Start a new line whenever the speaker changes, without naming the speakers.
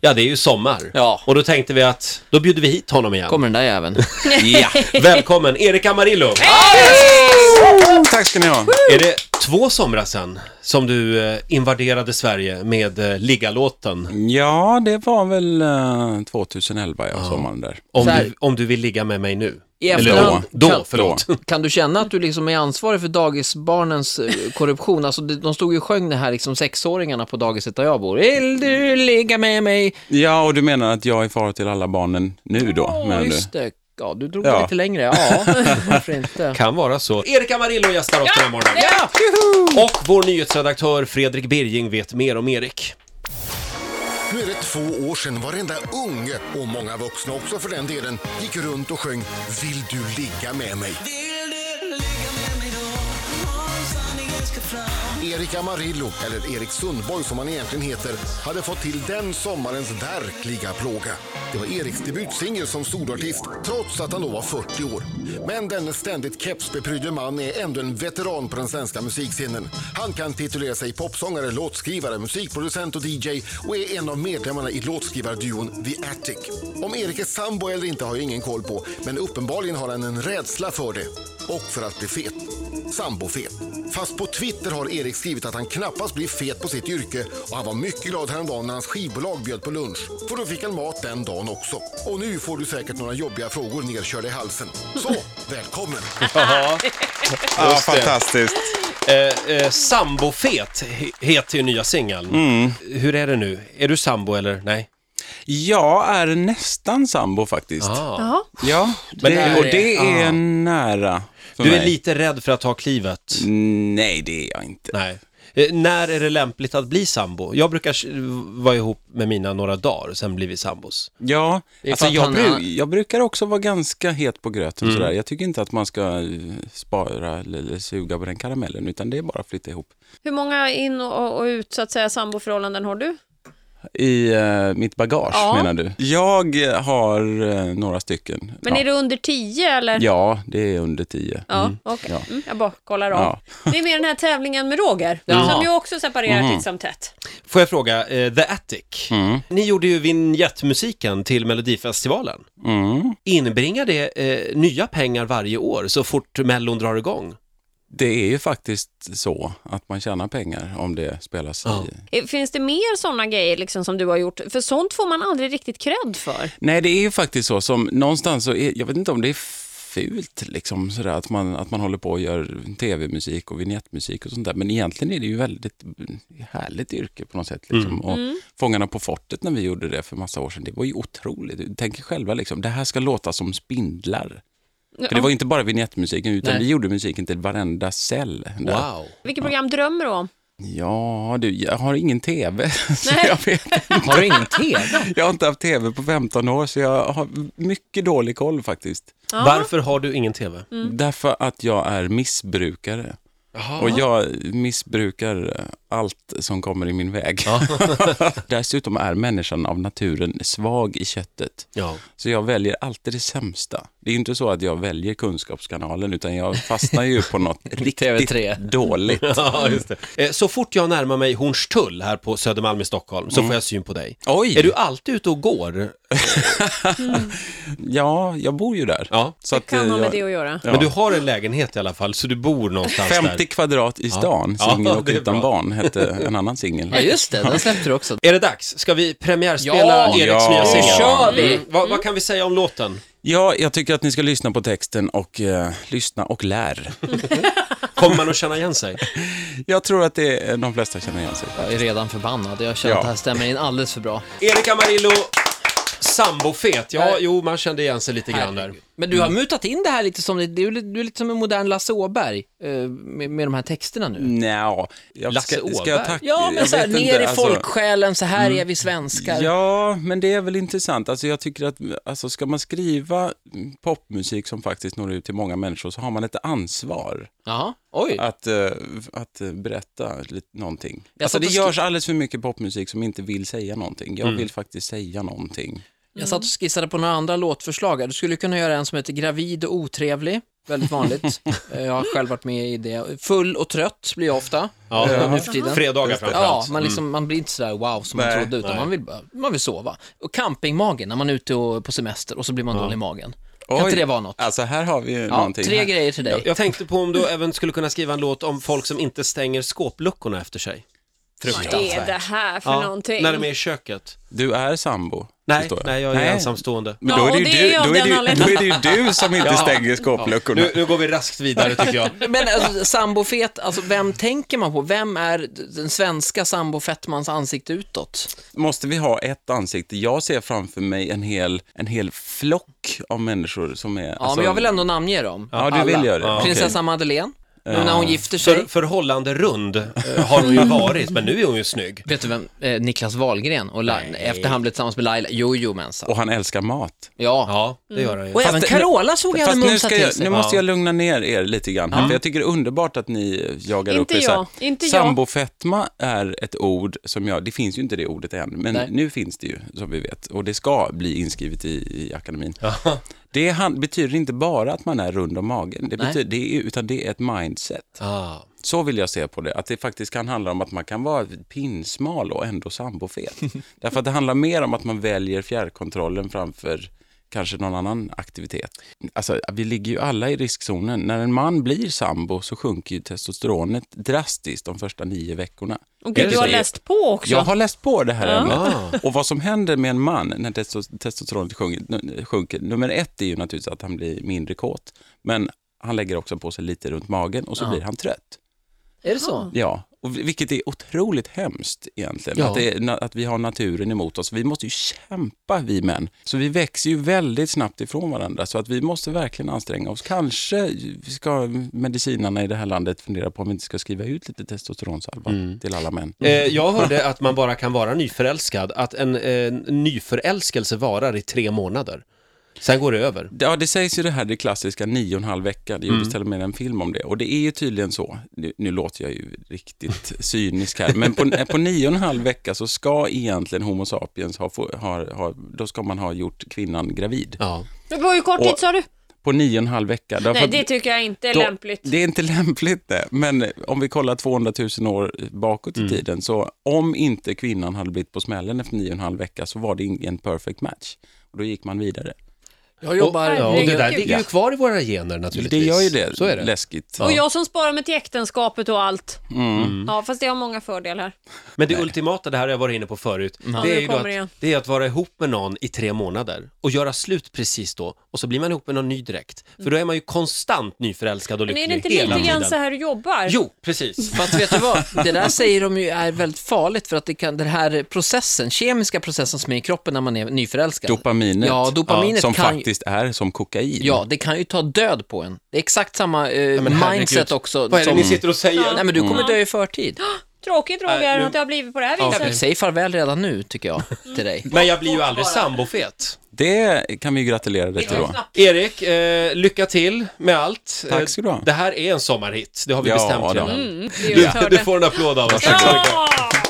Ja, det är ju sommar.
Ja.
Och då tänkte vi att, då bjuder vi hit honom igen.
Kommer den där jäveln.
Ja. Välkommen, Erik Amarillo!
Tack ska ni ha.
Är det två somrar sedan som du eh, invaderade Sverige med eh, liggalåten?
Ja, det var väl eh, 2011, ja, sommaren där.
Om
Så här-
du, om du vill ligga med mig nu?
I
då,
efterhand
då
kan-
förlåt.
Kan du känna att du liksom är ansvarig för dagisbarnens eh, korruption? Alltså, de de stod ju och sjöng det här, liksom sexåringarna på dagiset där jag bor. Vill du ligga med mig?
Ja, och du menar att jag är far till alla barnen nu då? menar
Ja,
du?
just det. Ja, du drog det
Ja.
lite längre. Ja, varför inte?
Kan vara så. Erik Amarillo gästar oss den här morgonen.
Ja!
Och vår nyhetsredaktör Fredrik Birging vet mer om Erik.
Nu är det två år sedan varenda unge, och många vuxna också för den delen, gick runt och sjöng Vill du ligga med mig? Erik Amarillo, eller Erik Sundborg som han egentligen heter, hade fått till den sommarens verkliga plåga. Det var Eriks debutsingel som storartist, trots att han då var 40 år. Men denne ständigt kepsbeprydde man är ändå en veteran på den svenska musikscenen. Han kan titulera sig popsångare, låtskrivare, musikproducent och DJ och är en av medlemmarna i låtskrivarduon The Attic. Om Erik är sambo eller inte har jag ingen koll på, men uppenbarligen har han en rädsla för det. Och för att bli fet sambofet. Fast på Twitter har Erik skrivit att han knappast blir fet på sitt yrke och han var mycket glad häromdagen när hans skivbolag bjöd på lunch. För då fick han mat den dagen också. Och nu får du säkert några jobbiga frågor nerkörda i halsen. Så, välkommen!
Ja, fantastiskt.
Eh, eh, sambofet he- heter ju nya singeln.
Mm.
Hur är det nu? Är du sambo eller? Nej?
Jag är nästan sambo faktiskt.
Ah.
Jaha.
Ja,
Men
det,
är-
och det är nära för
Du är
mig.
lite rädd för att ta klivet?
Nej, det är jag inte.
Nej. Eh, när är det lämpligt att bli sambo? Jag brukar s- vara ihop med mina några dagar, sen blir vi sambos.
Ja,
är
alltså
för att
jag,
han
bru-
är-
jag brukar också vara ganska het på gröten sådär. Jag tycker inte att man ska eh, spara eller eller suga på den karamellen, utan det är bara att flytta ihop.
Hur många in och, och ut så att säga samboförhållanden har du?
I eh, mitt bagage
Ja.
menar du? Jag eh, har eh, några stycken.
Men
ja.
är det under tio eller?
ja, det är under tio.
Ja, okej. Mm, jag bara kollar av.
Ja.
Det är med den här tävlingen med Roger,
Ja.
som ju också separerar
Mm.
titt som tätt.
Får jag fråga, eh, The Attic, ni gjorde ju vignettmusiken till Melodifestivalen.
Mm.
Inbringar det eh, nya pengar varje år så fort Mellon drar igång?
Det är ju faktiskt så att man tjänar pengar om det spelas
Ja.
i...
Eh, Finns det mer sådana grejer liksom, som du har gjort? För sånt får man aldrig riktigt cred för.
Nej, det är ju faktiskt så som någonstans så är, jag vet inte om det är fult liksom sådär att man, att man håller på och gör tv-musik och vignettmusik och sånt där. Men egentligen är det ju väldigt härligt yrke på något sätt. Liksom. Och
Mm.
Fångarna på fortet när vi gjorde det för massa år sedan, det var ju otroligt. Tänk er själva liksom, det här ska låta som spindlar. För det var ju inte bara vignettmusiken, utan
Nej.
vi gjorde musiken till varenda cell. där.
Wow!
Vilket program drömmer du om?
Ja, du, jag har ingen tv, så
Nej.
jag vet
Har du ingen tv?
Jag har inte haft tv på 15 år, så jag har mycket dålig koll faktiskt.
Varför har du ingen TV?
Mm. Därför att jag är missbrukare. Och jag missbrukar allt som kommer i min väg. Dessutom är människan av naturen svag i köttet.
Ja.
Så jag väljer alltid det sämsta. Det är ju inte så att jag väljer kunskapskanalen, utan jag fastnar ju på något
TV3.
riktigt dåligt.
Ja, just det. Eh, Så fort jag närmar mig Hornstull här på Södermalm i Stockholm så får jag syn på dig.
Mm. Oj!
Är du alltid ute och går?
Ja, jag bor ju där.
Ja.
Så att, eh,
Kan ha med
jag...
det att göra.
Ja.
Men du har en lägenhet i alla fall, så du bor någonstans
50
där.
kvadrat i stan,
Ja,
singel och
det är
utan
bra.
barn, hette en annan singel.
Ja, just det. Den släppte du också.
Är det dags? Ska vi premiärspela
Ja!
Eriks
Ja!
nya
Nu
singel?
kör vi!
Mm. Vad, vad kan vi säga om låten?
Ja, jag tycker att ni ska lyssna på texten och eh, lyssna och lär.
Kommer man att känna igen sig?
Jag tror att det är, de flesta känner igen sig.
Jag är redan förbannad. Jag känner
Ja.
att det här stämmer in alldeles för bra.
Erik Amarillo, sambofet. Ja,
Nej.
jo, man kände igen sig lite grann där.
Herregud. Men du har mutat in det här lite som, det- du är lite, du är lite som en modern Lasse Åberg eh, med, med de här texterna nu.
Nja, jag
Lasse
ska, ska
Åberg?
jag tacka?
Ja, men
jag
så här,
vet
ner
inte,
i
alltså. Mm.
folksjälen, så här är vi svenskar.
Ja, men det är väl intressant. Alltså jag tycker att alltså ska man skriva popmusik som faktiskt når ut till många människor så har man ett ansvar
Jaha, oj.
att, eh, att eh, berätta lite, någonting.
Jag
Alltså
satt
det
och skri- Mm.
görs alldeles för mycket popmusik som inte vill säga någonting. Jag vill faktiskt säga någonting.
Jag satt och skissade på några andra låtförslag. här. Du skulle kunna göra en som heter Gravid och otrevlig. Väldigt vanligt. Eh, jag har själv varit med i det. Full och trött blir jag ofta
Ja.
eh, nu för tiden.
Fredagar
Ja,
framförallt.
man, liksom, man blir inte sådär wow som man
Nej.
trodde, utan
Nej.
man vill, bara- man vill sova. Och campingmagen, när man är ute och, på semester och så blir man dålig i magen. Kan
Oj,
inte det vara något?
Alltså här har vi ju
Ja,
någonting.
tre
här.
grejer till dig.
Jag tänkte på om du även skulle kunna skriva en låt om folk som inte stänger skåpluckorna efter sig.
Vad är det här för någonting?
när de är i köket.
Du är sambo.
Nej,
förstår
nej jag är ensamstående.
Men
Ja,
då är det
och
ju
det är
du,
jag av
då är
den
det, ju-
anledningen.
då är det ju du som inte stänger skåpluckorna.
Nu, nu går vi raskt vidare tycker jag.
Men alltså, sambofet, alltså vem tänker man på? Vem är den svenska sambofettmans ansikte utåt?
Måste vi ha ett ansikte? Jag ser framför mig en hel, en hel flock av människor som är... alltså,
Ja, men jag vill ändå namnge dem.
Ja, du vill göra det.
Alla.
Ja, okej.
Prinsessa Madeleine, nu när hon gifter sig.
För, förhållande rund eh, har hon ju varit, men nu är hon ju snygg.
Vet du vem? Eh, Niklas Wahlgren, och La- efter han blev tillsammans med Laila, jojomensan.
Och han älskar mat.
Ja.
Ja, det gör hon ju.
Och
Mm.
även
nu-
Carola såg jag
Fast
hade
nu,
mumsat
ska
till
jag,
sig.
nu måste jag lugna ner er lite grann här, för jag tycker det är underbart att ni jagar
Inte
upp er
jag, inte jag.
Sambofetma är ett ord som jag, det finns ju inte det ordet än, men
Nej.
nu finns det ju som vi vet och det ska bli inskrivet i, i akademin. Det han, betyder inte bara att man är rund om magen, det
Nej.
betyder, det är, utan det är ett mindset.
Ah.
Så vill jag se på det, att det faktiskt kan handla om att man kan vara pinsmal och ändå sambofet. Därför att det handlar mer om att man väljer fjärrkontrollen framför kanske någon annan aktivitet. Alltså, vi ligger ju alla i riskzonen. När en man blir sambo så sjunker ju testosteronet drastiskt de första nio veckorna.
Och gud, du har läst på också.
Jag har läst på det här ämnet. Och vad som händer med en man när testo- testosteronet sjunker, sjunker, nummer ett är ju naturligtvis att han blir mindre kåt, men han lägger också på sig lite runt magen och så blir han trött.
Är det så?
Ja, och vi- vilket är otroligt hemskt egentligen.
Ja.
Att, det är, na- att vi har naturen emot oss. Vi måste ju kämpa, vi män. Så vi växer ju väldigt snabbt ifrån varandra. Så att vi måste verkligen anstränga oss. Kanske ska medicinarna i det här landet fundera på om vi inte ska skriva ut lite testosteronsalva till alla män.
Eh, jag hörde att man bara kan vara nyförälskad, att en eh, nyförälskelse varar i tre månader. Sen går det över.
Ja, det sägs ju det här, det klassiska nio och en halv vecka. Det gjordes
Mm.
till och med en film om det. Och det är ju tydligen så, nu, nu låter jag ju riktigt cynisk här, men på, eh, på nio och en halv vecka så ska egentligen Homo sapiens ha, få- ha, ha, då ska man ha gjort kvinnan gravid.
Ja.
Det var ju kort tid
Och-
sa du.
På nio och en halv vecka. därför
Nej,
att-
det tycker jag inte är
då-
lämpligt.
Det är inte lämpligt det, men eh, om vi kollar 200 000 år bakåt i
Mm.
tiden, så om inte kvinnan hade blivit på smällen efter nio och en halv vecka så var det ingen perfect match. Och då gick man vidare.
Jag
Och,
jobbar...
ja, och det där
Herregud.
ligger ju kvar i våra gener
Det
naturligtvis.
gör ju det,
Så är det.
läskigt.
Och jag som sparar mig till äktenskapet och allt.
Mm.
Ja, fast det har många fördelar.
Men det ultimata, det här har jag varit inne på förut, det,
nu
är ju då
kommer det.
att, det är att vara ihop med någon i tre månader och göra slut precis då och så blir man ihop med någon ny direkt. För då är man ju konstant nyförälskad och
Men
lycklig
är det inte
hela
lite grann så
tiden.
här du jobbar?
Jo, precis.
Fast vet du vad, det där säger de ju är väldigt farligt för att det kan, den här processen, kemiska processen som är i kroppen när man är nyförälskad.
Dopaminet.
Ja, dopaminet
som
kan ju-
faktiskt är som kokain.
Ja, det kan ju ta död på en. Det är exakt samma eh,
Men herregud,
mindset också.
Vad är det
som-
ni sitter och säger?
Nej, men du kommer dö i förtid.
Tråkigt Roger
Nej, nu-
att det har blivit på det här
Ja,
viset.
Säg farväl redan nu, tycker jag, till dig.
Men jag blir ju aldrig sambofet.
Det kan vi ju gratulera dig till då.
Erik, eh, lycka till med allt.
Tack ska du ha.
Eh, Det här är en sommarhit, det har vi
Ja,
bestämt
då.
redan.
Mm, det är ju
Du,
hörde.
du får en applåd av oss. Tack så mycket.
Ja!